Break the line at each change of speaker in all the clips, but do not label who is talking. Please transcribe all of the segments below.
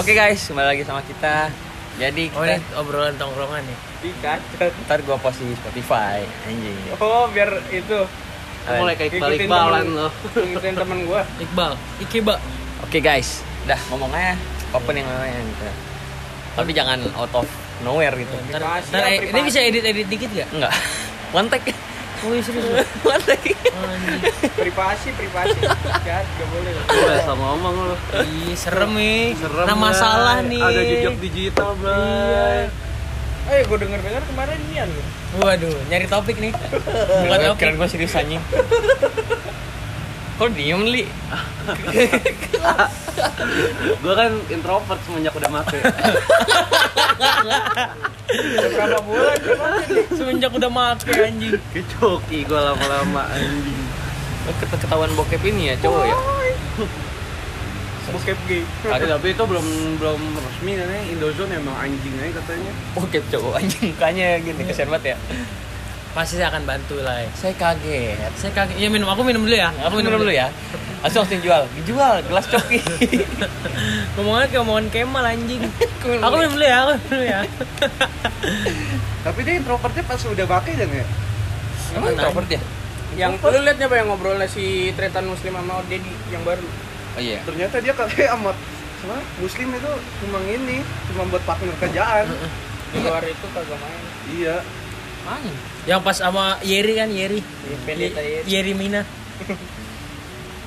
Oke guys, kembali lagi sama kita. Jadi
Oh ini
kita
obrolan tongkrongan nih.
Ikan.
ntar gua post di Spotify, anjing.
Oh biar itu
Oh,
mulai kayak
Ngikutin
balik balan
temen-
loh
ngikutin temen gua.
Iqbal, Ikeba.
Oke guys, dah ngomongnya open yang namanya gitu. Tapi jangan out of nowhere gitu.
Ntar,
Privasi
ntar,
ya,
eh, ini
privasi.
bisa edit edit dikit gak?
Enggak. One take.
Oh iya serius. loh.
One take.
Anjir.
Privasi, privasi. Jahat, gak boleh.
udah sama ngomong lu
Ih, serem nih.
serem
Nah
Bray.
masalah nih. Iya.
ada jejak digital bray
Eh, gua denger-denger kemarin Nian loh.
Waduh, nyari topik nih. Bukan
Keren-
topik.
Keren Iya, gua serius anjing. Kok diem li?
gua kan introvert semenjak udah mati
Udah berapa bulan dia pakai nih?
Semenjak udah make anjing.
kecoki gua lama-lama anjing
Lo ket- ketahuan bokep ini ya cowok ya?
Bokep gay.
tapi, tapi itu belum belum resmi katanya Indozone emang anjing aja katanya
Bokep cowok anjing mukanya gini kesian banget ya.
Pasti saya akan bantu lah. ya.
Saya kaget.
Saya kaget. Iya minum, aku minum dulu ya.
Aku minum dulu ya. Langsung langsung jual. Dijual gelas coki.
Ngomongan kayak omongan Kemal anjing.
Aku minum
Aku
dulu ya.
minum dulu ya, aku minum dulu ya.
tapi dia introvertnya pas udah pakai dan ya
Emang introvert ya?
Yang lu lihat apa yang ngobrolnya si Tretan Muslim sama Dedi yang baru?
Oh iya.
ternyata dia katanya amat sama muslim itu cuma ini cuma buat partner kerjaan
Di luar itu kagak main.
iya
Anjing.
Yang pas sama Yeri kan, Yeri.
Di pendeta ya.
Yeri Mina.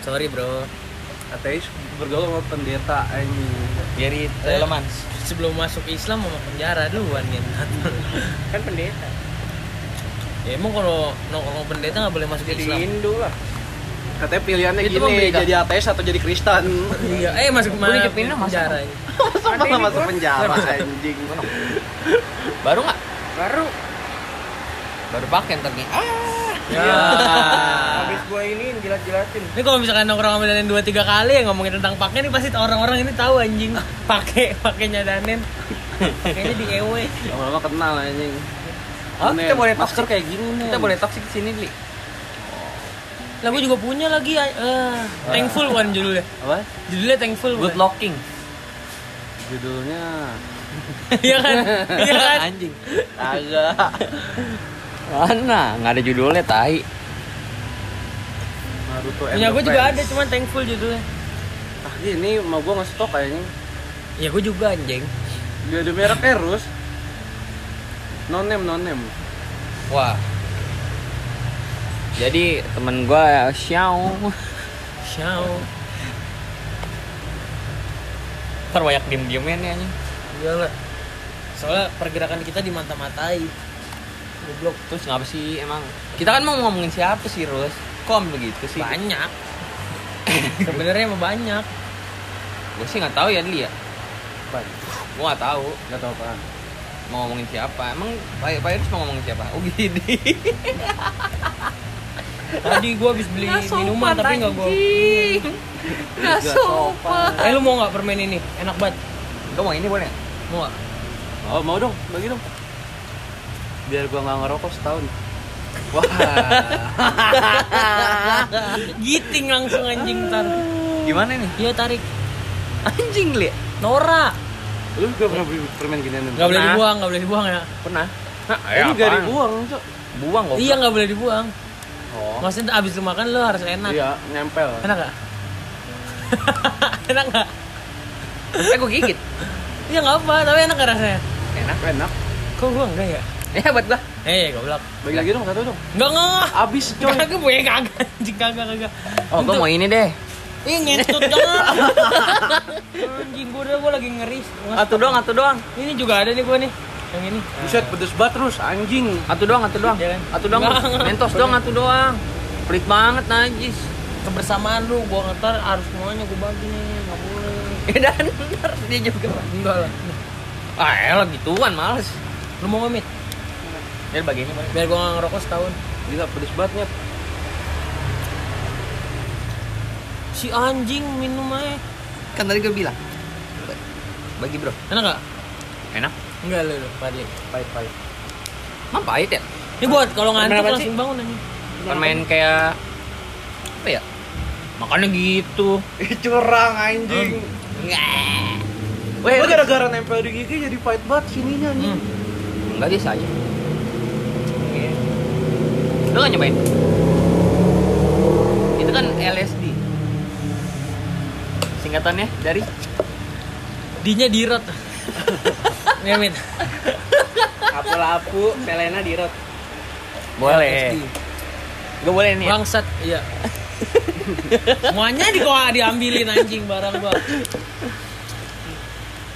Sorry, Bro.
ateis bergaul sama pendeta anjing
Jadi relevan.
Sebelum masuk Islam mau penjara duluan kan.
Kan pendeta.
Ya emang kalau nongkrong pendeta nggak boleh masuk
Jadi
Islam.
Hindu lah.
katanya pilihannya
Itu
gini
membeda.
jadi ateis atau jadi Kristen
Iya, eh masuk
Boleh
mana?
dipindah, masuk.
penjara.
Ada
malah
ini
masuk
gua.
penjara anjing
Baru nggak?
Baru
Baru pakai ntar nih. Ah.
Ya.
habis gua ini jilat-jilatin.
Ini kalau misalkan nongkrong sama Danen 2 3 kali ya ngomongin tentang pakai nih pasti orang-orang ini tahu anjing. Pakai pakainya Danen. Pakainya di E EW.
lama-lama kenal anjing
Oh,
Nen,
kita boleh
masker
toxic.
kayak gini nih
Kita boleh toxic di sini, Li.
Lah gua juga punya lagi eh Thankful kan judulnya.
apa
Judulnya Thankful.
Good
bukan?
looking.
judulnya
Iya kan? Iya kan?
Anjing.
agak
Mana? Nggak ada judulnya tai.
Naruto and
Punya
the
gua juga
Friends.
ada cuman Thankful judulnya.
ah ini mau gua nggak stok kayaknya
Ya gua juga anjing.
dia ada merek Erus non name non name
Wah. Jadi temen gua Xiao.
Ciao.
Ntar banyak diem-diemin nih anjing.
Iyalah. Iya Soalnya pergerakan kita dimata-matai. Goblok.
Terus ngapa sih emang? Kita kan mau ngomongin siapa sih, Rus? Kom begitu sih.
banyak sebenarnya emang banyak
Gua sih nggak tahu ya, Li ya.
Apaan?
Gua nggak tahu
nggak tahu apaan
mau ngomongin siapa. Emang Pak Pak Irus mau ngomongin siapa? Oh, gini.
tadi gua habis beli minuman tapi nggak gua
Nggak sopan.
eh lu mau nggak permen ini enak banget
Gua mau ini boleh? nggak?
mau nggak
oh mau dong bagi dong biar gua nggak ngerokok setahun
Wah.
giting langsung anjing tar
Gimana nih?
iya tarik
Anjing, Li.
Nora
lu juga pernah beli permen ginian Nen?
nggak boleh
Pernah.
dibuang nggak boleh dibuang ya
Pernah.
ini gak dibuang cok
Buang kok.
iya nggak boleh dibuang
Oh.
maksudnya abis lu makan lu harus enak
iya nempel
enak nggak enak nggak
Eh, gua gigit.
iya nggak apa tapi enak nggak rasanya
enak enak
kok gua enggak ya
Ya buat gua.
eh goblok
bagi lagi dong satu dong
nggak nggak nggak.
abis coy
kagak gue kagak anjing kagak kagak
Oh, gua
Untuk-
mau ini deh.
Ih ngentut jangan. Anjing gue udah gue lagi ngeri.
Atu doang, atu doang.
Ini juga ada nih gue nih. Yang ini.
buset pedes banget terus anjing
Atu doang, atu doang.
Jalan.
Atu doang. Rus.
Jangan.
Mentos doang, atu doang. Pelit banget najis.
Kebersamaan lu gue ntar harus semuanya gue bagi nih. Gak boleh.
Eh, dan ntar dia juga.
Enggak lah. Nih,
Ah, elah gituan males.
Lu mau ngomit?
Ya bagiannya boleh.
Biar gue gak ngerokok setahun.
gila pedes banget Nyet.
Si anjing minum aja.
Kan tadi gua bilang. Bagi, Bro.
Enak gak?
Enak.
Enggak lu lu. Padli.
pahit pahit
Emang pahit ya?
Ini buat kalau ngantuk
Kenapa
langsung bangun anjing.
Kan main kayak apa ya? Makannya gitu.
curang anjing
Nggak. Weh,
Gue gara-gara nempel di gigi jadi pahit banget sininya nih.
Hmm.
Enggak bisa aja. Iya. Lu gak nyobain? Itu kan LSD. Singkatannya dari
D-nya dirot. Nyamin.
Apu-lapu, Selena di road.
boleh. Gue boleh nih. ya?
Bangsat, iya. Semuanya di kok diambilin anjing barang gua.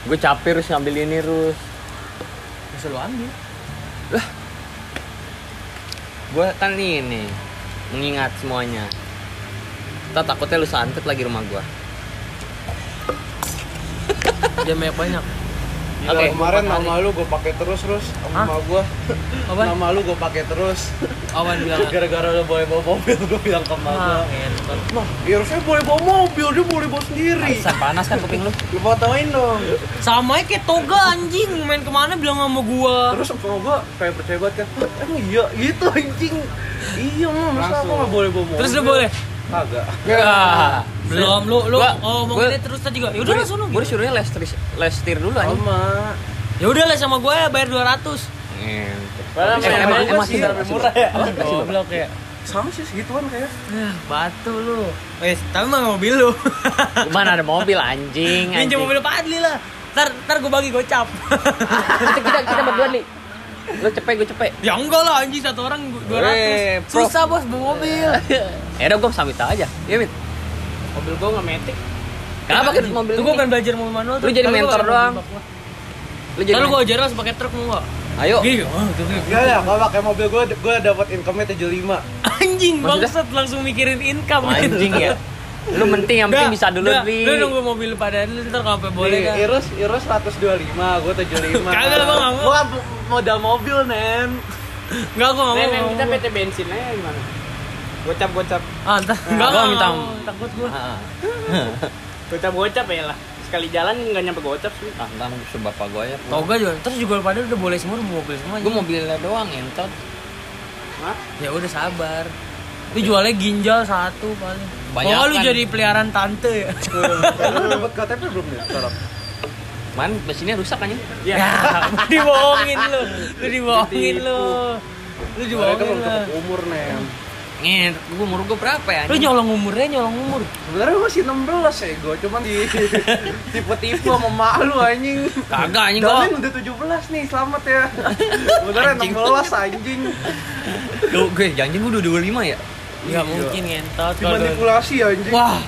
Gue capek harus ngambil ini terus.
Bisa lu ambil.
Gue kan ini mengingat semuanya. Kita takutnya lu santet lagi rumah gua.
Dia banyak banyak.
Gila,
Oke,
kemarin
empat
nama lu gue pakai terus terus
Hah?
sama nama gua.
Apa?
Nama lu gue pakai terus.
Awan bilang.
Gara-gara lu boleh bawa mobil gue bilang ke emak gua.
Ah, ngentot.
Mah, ya harusnya boleh bawa mobil, dia boleh bawa sendiri.
Bisa panas kan kuping lu?
Lu fotoin dong.
Oh. Sama aja kayak toga anjing main kemana bilang sama gua.
Terus sama gua kayak percaya banget kan. "Hah, Emang iya gitu anjing. Iya mah, masa aku
Langsung.
nggak boleh bawa mobil?
Terus lu boleh.
Kagak.
Ya.
Belum lu lu
Gua-
oh mau
gua-
ini terus tadi gua. Ya udah langsung lu.
Gue disuruhnya les lestir dulu anjing.
Sama.
Ya udah lah sama gua ya bayar 200.
Eh,
Padahal
emang-
Selena
emang
gue
sih
sih lebih murah ya.
Goblok ya.
Sama sih segituan kayak.
Nah, batu lu. Wes, tapi mah mobil lu.
Mana ada mobil anjing?
Minjem
anjing.
mobil Padli lah. Ntar, ntar gue bagi gocap.
kita kita kita berdua nih. Lu cepet, gue cepet.
ya enggak lah anjing satu orang gua- 200.
Weh, prof.
Susah bos bawa mobil.
Ya udah gue sambil aja. Iya, Mit.
Mobil gue nggak metik.
Kenapa kita mobil
Tuh
ini?
gue kan belajar mobil manual
Lu jadi mentor doang. Lu jadi
Lalu gue ajarin langsung pakai truk mau enggak?
Ayo.
Gini, oh, tuh, gini.
Enggak ya, kalau pakai mobil gua gua dapat income-nya 75.
Anjing
Maksudnya?
bangsat langsung mikirin income
Anjing ya. Lu penting yang
Udah,
penting bisa dulu Iya,
udah.
beli.
Lu nunggu mobil pada lu ntar kalau sampai boleh
Nih,
kan.
Irus, Irus 125, gua 75.
Kagak, gua nggak mau.
Gua mo- modal mobil, Nen.
Enggak gua
Iya,
enggak
Nen,
mau.
kita PT bensin aja gimana? Gocap-gocap.
Ah, entar. Enggak
gua
gua
minta.
minta. Takut gua.
Heeh.
Gocap-gocap ya lah. Sekali jalan nggak nyampe gocap sih.
Ah, enggak mau sebab apa gue ya.
Toga juga. Terus juga pada udah boleh semua udah mobil semua.
Gue
anjing.
mobilnya doang entot.
Hah?
Ya udah sabar. Lu jualnya ginjal satu paling.
Banyak
Pokoknya lu
kan.
jadi peliharaan tante ya.
Eh, Lu dapat KTP belum nih sekarang?
Man, mesinnya rusak anjing.
Iya.
ya, dibohongin lu. Lu dibohongin lu. Lu
Mereka
dibohongin
belum
lu.
cukup umur, Nen.
Ngin, gue umur gue berapa ya?
Lu
anjing?
nyolong umurnya, nyolong umur.
Iya.
Sebenarnya gua masih 16 ya, gua cuman di tipe-tipe sama mak lu anjing.
Kagak anjing gua.
Danin udah 17 nih, selamat ya. Sebenarnya
Anjing.
16 anjing.
Lu gue janji gue udah 25 ya.
Enggak mungkin ngentot. Kalau-
Dimanipulasi anjing.
Wah.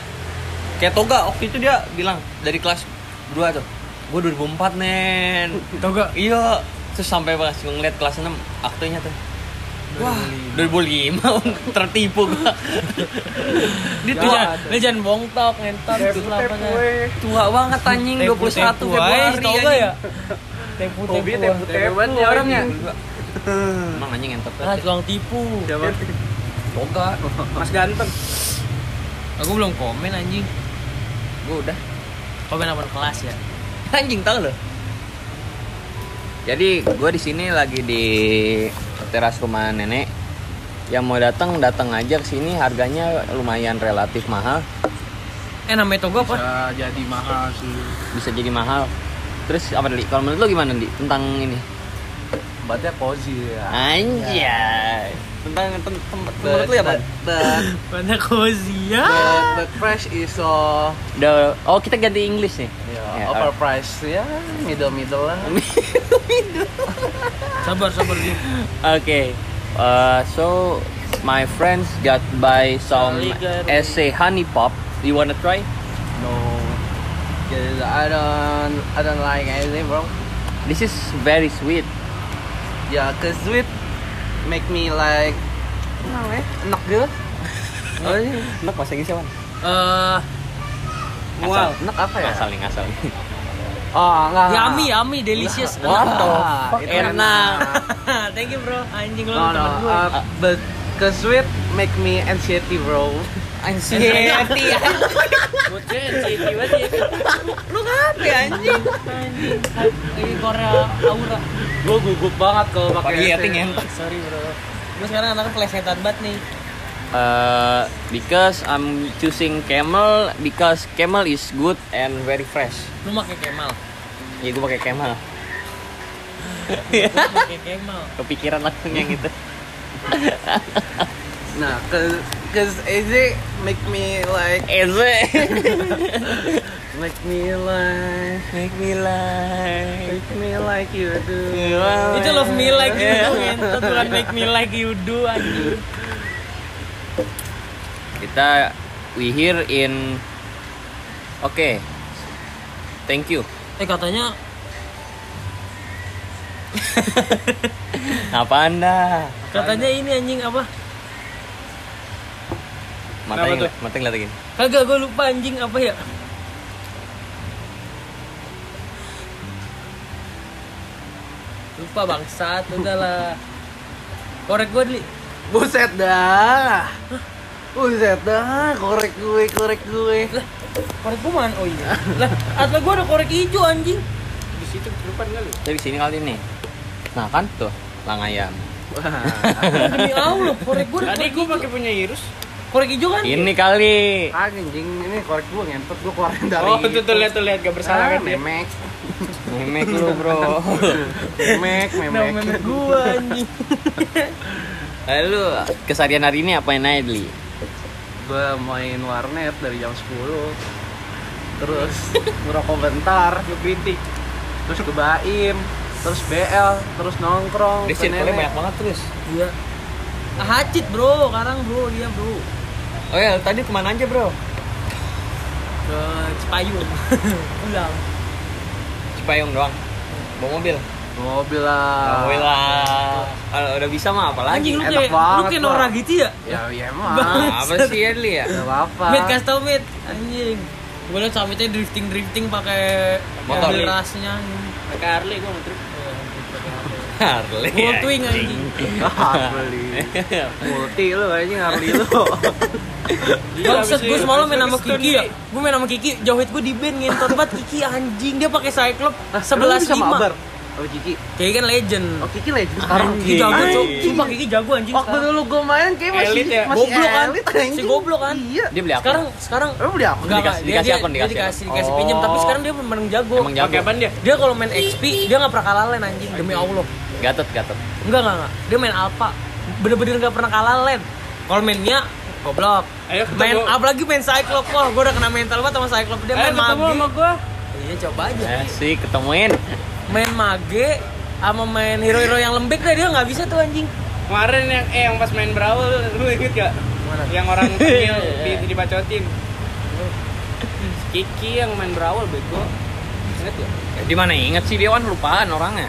Kayak Toga waktu itu dia bilang dari kelas 2 tuh. Gue 2004, Nen.
Toga.
Iya, terus sampai pas gua ngeliat kelas 6 aktornya tuh. Wah, 2005 tertipu gua.
Dia
Dia
tuh
tua,
jangan, lu jangan bohong tok ngentot
Tep,
itu
tep,
apanya.
gue.
tua banget anjing 21
Tepu- tepu aja,
Februari.
si Toga
anjing.
ya. Tepu tepu.
Hobi tepu
Tepu banget
tepu
ya orangnya.
Emang anjing entot
Ah,
banget.
tukang tipu.
Toga.
Mas ganteng.
Aku belum komen anjing.
Gua udah
Komen apa kelas ya?
anjing tahu lo. Jadi gua di sini lagi di teras rumah nenek. Yang mau datang datang aja ke sini harganya lumayan relatif mahal.
Eh namanya Toga apa?
Bisa jadi mahal sih.
bisa jadi mahal terus apa Li? kalau menurut lo gimana Li? tentang ini
Tempatnya cozy ya.
anjay
Tentang tem- tem-
menurut lu ya apa
Mana Kozia?
The, the price is uh, so
The- oh kita ganti English nih
ya,
Ya,
upper price ya, middle middle lah.
Sabar sabar Jin.
okay Uh, so my friends got buy some essay honey pop you wanna try
No, Because I don't I don't like anything bro.
this is very sweet
Yeah, Ya, cause sweet make me like enak gitu. Oh, iya.
enak bahasa Inggris apa
Eh,
Uh, Wow.
Enak apa ya?
ngasal nih ngasal
Oh, enggak. enggak.
yummy yummy Ya, delicious.
What the
Ah,
fuck?
itu
enak
Thank you bro. Anjing lu
No, no,
nah,
temen gue.
ah.
uh, but cause sweet make me anxiety bro.
Iya, anxiety
Eh,
Bocil, cewek banget ya.
Lu ngapain anjing? Anjing. Ini Korea Aura.
Gue gugup banget kalau pakai
anxiety
essay.
ngentot
Sorry bro. Gue sekarang anaknya plesetan banget nih.
Uh, because I'm choosing camel because camel is good and very fresh.
Lu pakai Kemal.
ya gue pakai Kemal
Pakai Kemal.
kepikiran langsung yang itu
Nah, cause, cause AJ make me like,
Eze
make me like,
make me like
make me like you do.
Oh,
Itu
iya,
love me like you
Yeah.
do, ngentot bukan make me like you do anjing.
kita we here in oke thank you
Eh katanya
apa anda
katanya ini anjing apa?
mata
Kenapa
yang
tuh?
mata yang ngeliatin.
Kagak gue lupa anjing apa ya? Lupa bangsat, udahlah. Korek gue dili.
Buset dah. Buset dah, korek gue, korek gue.
Lah, korek gue mana? Oh iya. Lah, atau gue ada korek hijau anjing.
Di situ depan kali.
dari sini kali nih nah kan tuh lang ayam
Wah.
Demi Allah, korek gue ada
Tadi
korek
gue
hijau.
pakai punya Irus.
Korek hijau kan?
ini kali
Ah, anjing, ini korek gue ngentut gue keluarin dari.
Oh, tuh tuh lihat tuh lihat gak bersalah
Ah,
kan dia.
memek.
memek lu bro
Memek,
Nah,
memek.
memek gue anjing.
lalu keseharian hari ini apain aja Dli?
Gue main warnet dari jam 10. Terus ngerokok bentar, ngekritik. Terus ke Baim, terus BL, terus nongkrong.
Di
ke
circle-nya
nenek.
banyak banget terus
Iya. Ah, Hacit bro, sekarang bro dia bro
oh ya tadi kemana aja bro
ke Cipayung. Ulang.
Cipayung doang bawa mobil
Mobil lah.
mobil lah Kalau udah bisa mah
Anjing
apalagi
lu
enak
kayak lu
banget,
kayak
Bang.
Nora gitu ya?
Ya, ya emang.
Bang.
apa sih ya Dli ya
Gak apa-apa.
Mit, kasih tau Mit Anjing Gue liat Samitnya drifting-drifting pakai
Motor.
mobil rasnya
Pakai Harley gue ngetrip.
Harley
Gold Twing anjing
Harley. Multi lu anjing Harley lu.
Bangsat gue semalam main sama
Habis itu
Kiki ya Gue main sama Kiki, jauhit gue di band ngentot banget Kiki anjing, dia pakai Cyclop 11
sama Abar.
lima
Oh Kiki.
Kiki kan legend
Oh Kiki legend sekarang.
Sekarang Kiki jago, Cok. sumpah Kiki jago anjing
Waktu
sekarang.
dulu gue main kayak masih
Elit ya?
masih
Goblok kan?
elit,
Si
anjing.
goblok kan?
Iya.
dia beli apa
Sekarang, sekarang
Lu udah aku.
Enggak, enggak,
Dikasih-
dia,
dikasih
dia,
akun,
dia
dikasih
dikasih,
akun.
dikasih pinjam, tapi sekarang dia memang jago
Emang jago.
Pakai apaan dia?
Dia kalau main XP, dia nggak pernah kalah lane anjing, demi Allah
Gatot Gatot
Enggak, enggak, enggak. Dia main alpha. Bener-bener enggak pernah kalah lane. Kalau mainnya goblok.
Ayo Ya, ketemu.
Main apalagi main Cyclops. Wah, gua udah kena mental banget sama Cyclops. Dia
Ayo
main
Eh, ketemu
mage.
sama gue.
Iya, coba aja.
eh sih ketemuin
Main mage sama main hero-hero yang lembek deh dia nggak bisa tuh anjing.
Kemarin yang eh yang pas main berawal lu inget gak? Yang orang
Iya,
kecil di dibacotin. Si Kiki yang main berawal bego. Ingat ya?
di mana inget sih dia kan lupaan orangnya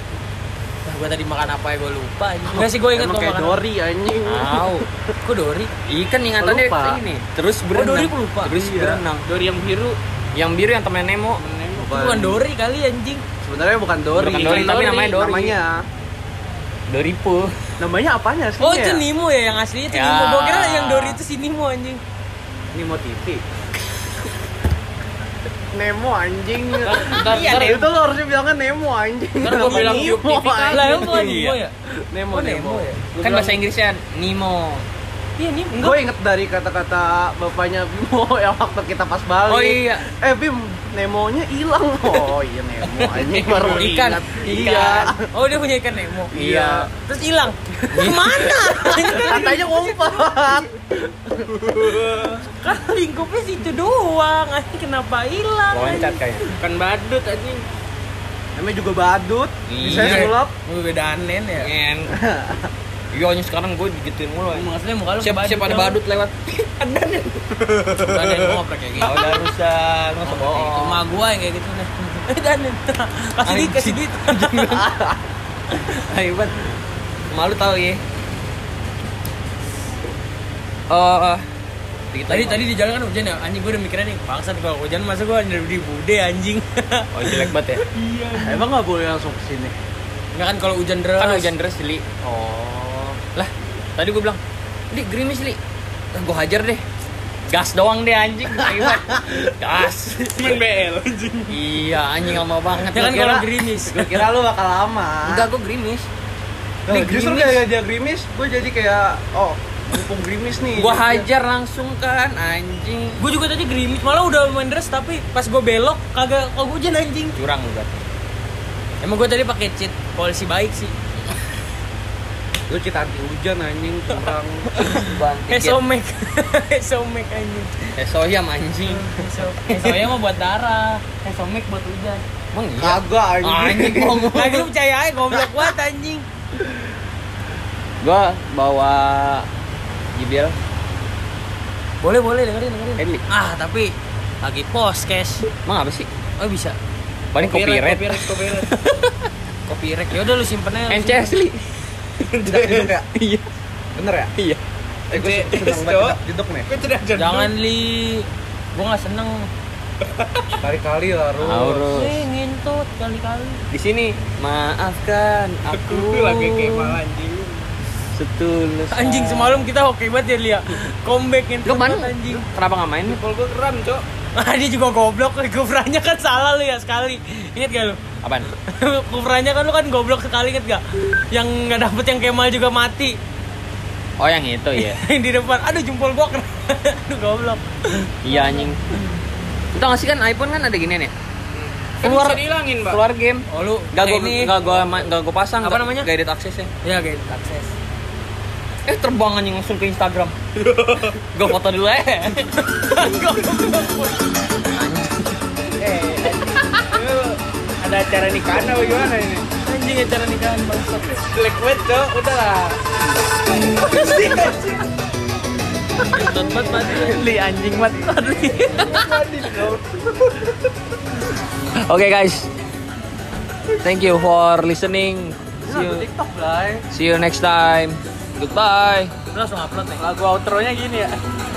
Nah, gua tadi makan apa ya gua lupa anjing. Enggak sih gua inget
Emang
gua
kayak
makan. apa.
Dori anjing.
tahu
Gua Dori.
ikan ingatannya
Pelupa.
ini terus berenang
Dori pelupa.
terus
Iya.
berenang
Dori yang biru.
yang biru yang temen Nemo
Nemo.
Itu Bukan Dori kali anjing.
Sebenarnya bukan Dori.
Bukan Dori, tapi namanya Dori.
Namanya
Doripo
namanya apanya sih?
Oh, itu Nemo ya yang aslinya itu
Ya.
Nemo. Gua kira yang Dori itu si Nemo anjing.
Nemo TV. Nemo anjing.
Ntar
Iya,
ntar
Nemo.
Itu lo harusnya bilangnya Nemo anjing.
Ntar gua bilang
Nemo,
Yuki Vika.
anjing.
Lah, emang bukan Nemo
Iya.
ya?
Nemo,
Oh,
Nemo.
Nemo ya?
kan bahasa Inggrisnya Nemo
Iya, Nemo.
Gue inget dari kata-kata bapaknya Bimo yang waktu kita pas balik.
Oh, iya.
Eh Bim, Nemonya hilang. Oh iya Nemo anjing baru
Ikan.
ingat. Iya.
Ikan.
Oh dia punya ikan Nemo.
Iya.
Terus hilang. Gimana? Iya.
Katanya ngumpat.
kan lingkupnya situ doang. Anjing kenapa hilang?
loncat
anjing?
kayaknya
kan badut anjing.
Namanya juga badut. Bisa
Iya.
sulap.
Gue beda anen ya.
Ngen. Iya, hanya sekarang gue digituin mulu.
Emang aslinya muka lu
Siapa siapa ada badut lewat.
Danen ngoprek kayak gitu.
Oh, udah rusak, masa
Itu
bohong.
mah gua yang kayak gitu nih. Eh Danen. Kasih duit, kasih duit.
Ayo, Ban. Malu tahu ya. Eh, dikit
Tadi
lagi.
tadi di jalan kan hujan ya. Anjing gua udah mikirnya nih, bangsat kalau hujan masa gua ada di bude anjing.
Oh, jelek banget ya.
Emang nggak boleh langsung ke sini.
Enggak kan kalau hujan deras.
Kan hujan deras, Li.
Oh.
Lah, tadi gue bilang, "Li, gerimis, Li." Lah, gue hajar deh. Gas doang deh anjing, Tai banget. Gas.
Main BL anjing.
Iya, anjing lama banget.
Ya kan
Gua
kalau
kira-
gerimis.
Gue kira lu bakal lama.
Enggak, gue gerimis.
Nah,
Ini
justru
gerimis.
kayak dia gerimis, gue jadi kayak oh mumpung gerimis nih.
Gua hajar langsung kan anjing.
Gue juga tadi gerimis, malah udah main deras tapi pas gue belok kagak kok hujan anjing.
Curang lu berarti.
Emang gue tadi pakai cheat polisi baik sih.
Lu cita anti hujan anjing kurang
Bang, tiket.
Hesomek. Hesomek anjing.
Esoyam Eh, anjing. Eh,
Hesomek mah buat darah. Hesomek buat hujan.
Emang iya?
Kagak
Ah,
Anjing, bohong.
Lagi lu percaya aja goblok banget anjing.
Gua bawa JBL
Boleh boleh dengerin dengerin.
Eli.
Ah, tapi lagi post cash.
Emang apa sih?
Oh, bisa.
Paling copyright.
Copyright, copyright.
Copyright. Ya udah lu simpen aja. lu simpen.
NCS li. Iya.
Bener ya?
Iya.
Eh, gue
Iya,
sedang
cowok.
banget jedok nih.
Gue tidak jadi.
Jangan li gua nggak seneng
Kali-kali lah, Ru.
Harus.
eh ngintut kali-kali
Di sini maafkan aku.
Aku lagi kemal anjing.
Setulus.
anjing semalam kita oke banget ya Lia comeback
Lu
ngintut
mana?
banget, anjing
Lu Kenapa nggak main?
Kalau gue keren, Cok. Kan
ah dia juga goblok kufrannya kan salah lu ya sekali inget gak lu
Apaan?
kufrannya kan lu kan goblok sekali inget gak yang nggak dapet yang Kemal juga mati
Oh yang itu ya.
di depan aduh jempol gua kena aduh goblok
Iya anjing. Lu tau gak sih kan iPhone kan ada ginian ya?
Kan
Keluar.
bisa dihilangin, Mbak.
Keluar game.
oh lu
Gak gue
ini
gak gue gak gue pasang.
Apa
nggak-
namanya?
Guided access ya.
ya guys akses
Eh terbang anjing langsung ke Instagram. gue foto dulu ya.
Eh, lu ada acara nikahan apa gimana ini?
anjing acara nikahan bangsat ya
Jelek banget, Cok. Udah lah.
ngintut banget mati li anjing banget li
Oke guys. Thank you for listening. See you,
TikTok, Blay.
see you next time. Goodbye.
Lu langsung upload nih
Lagu outro-nya gini ya.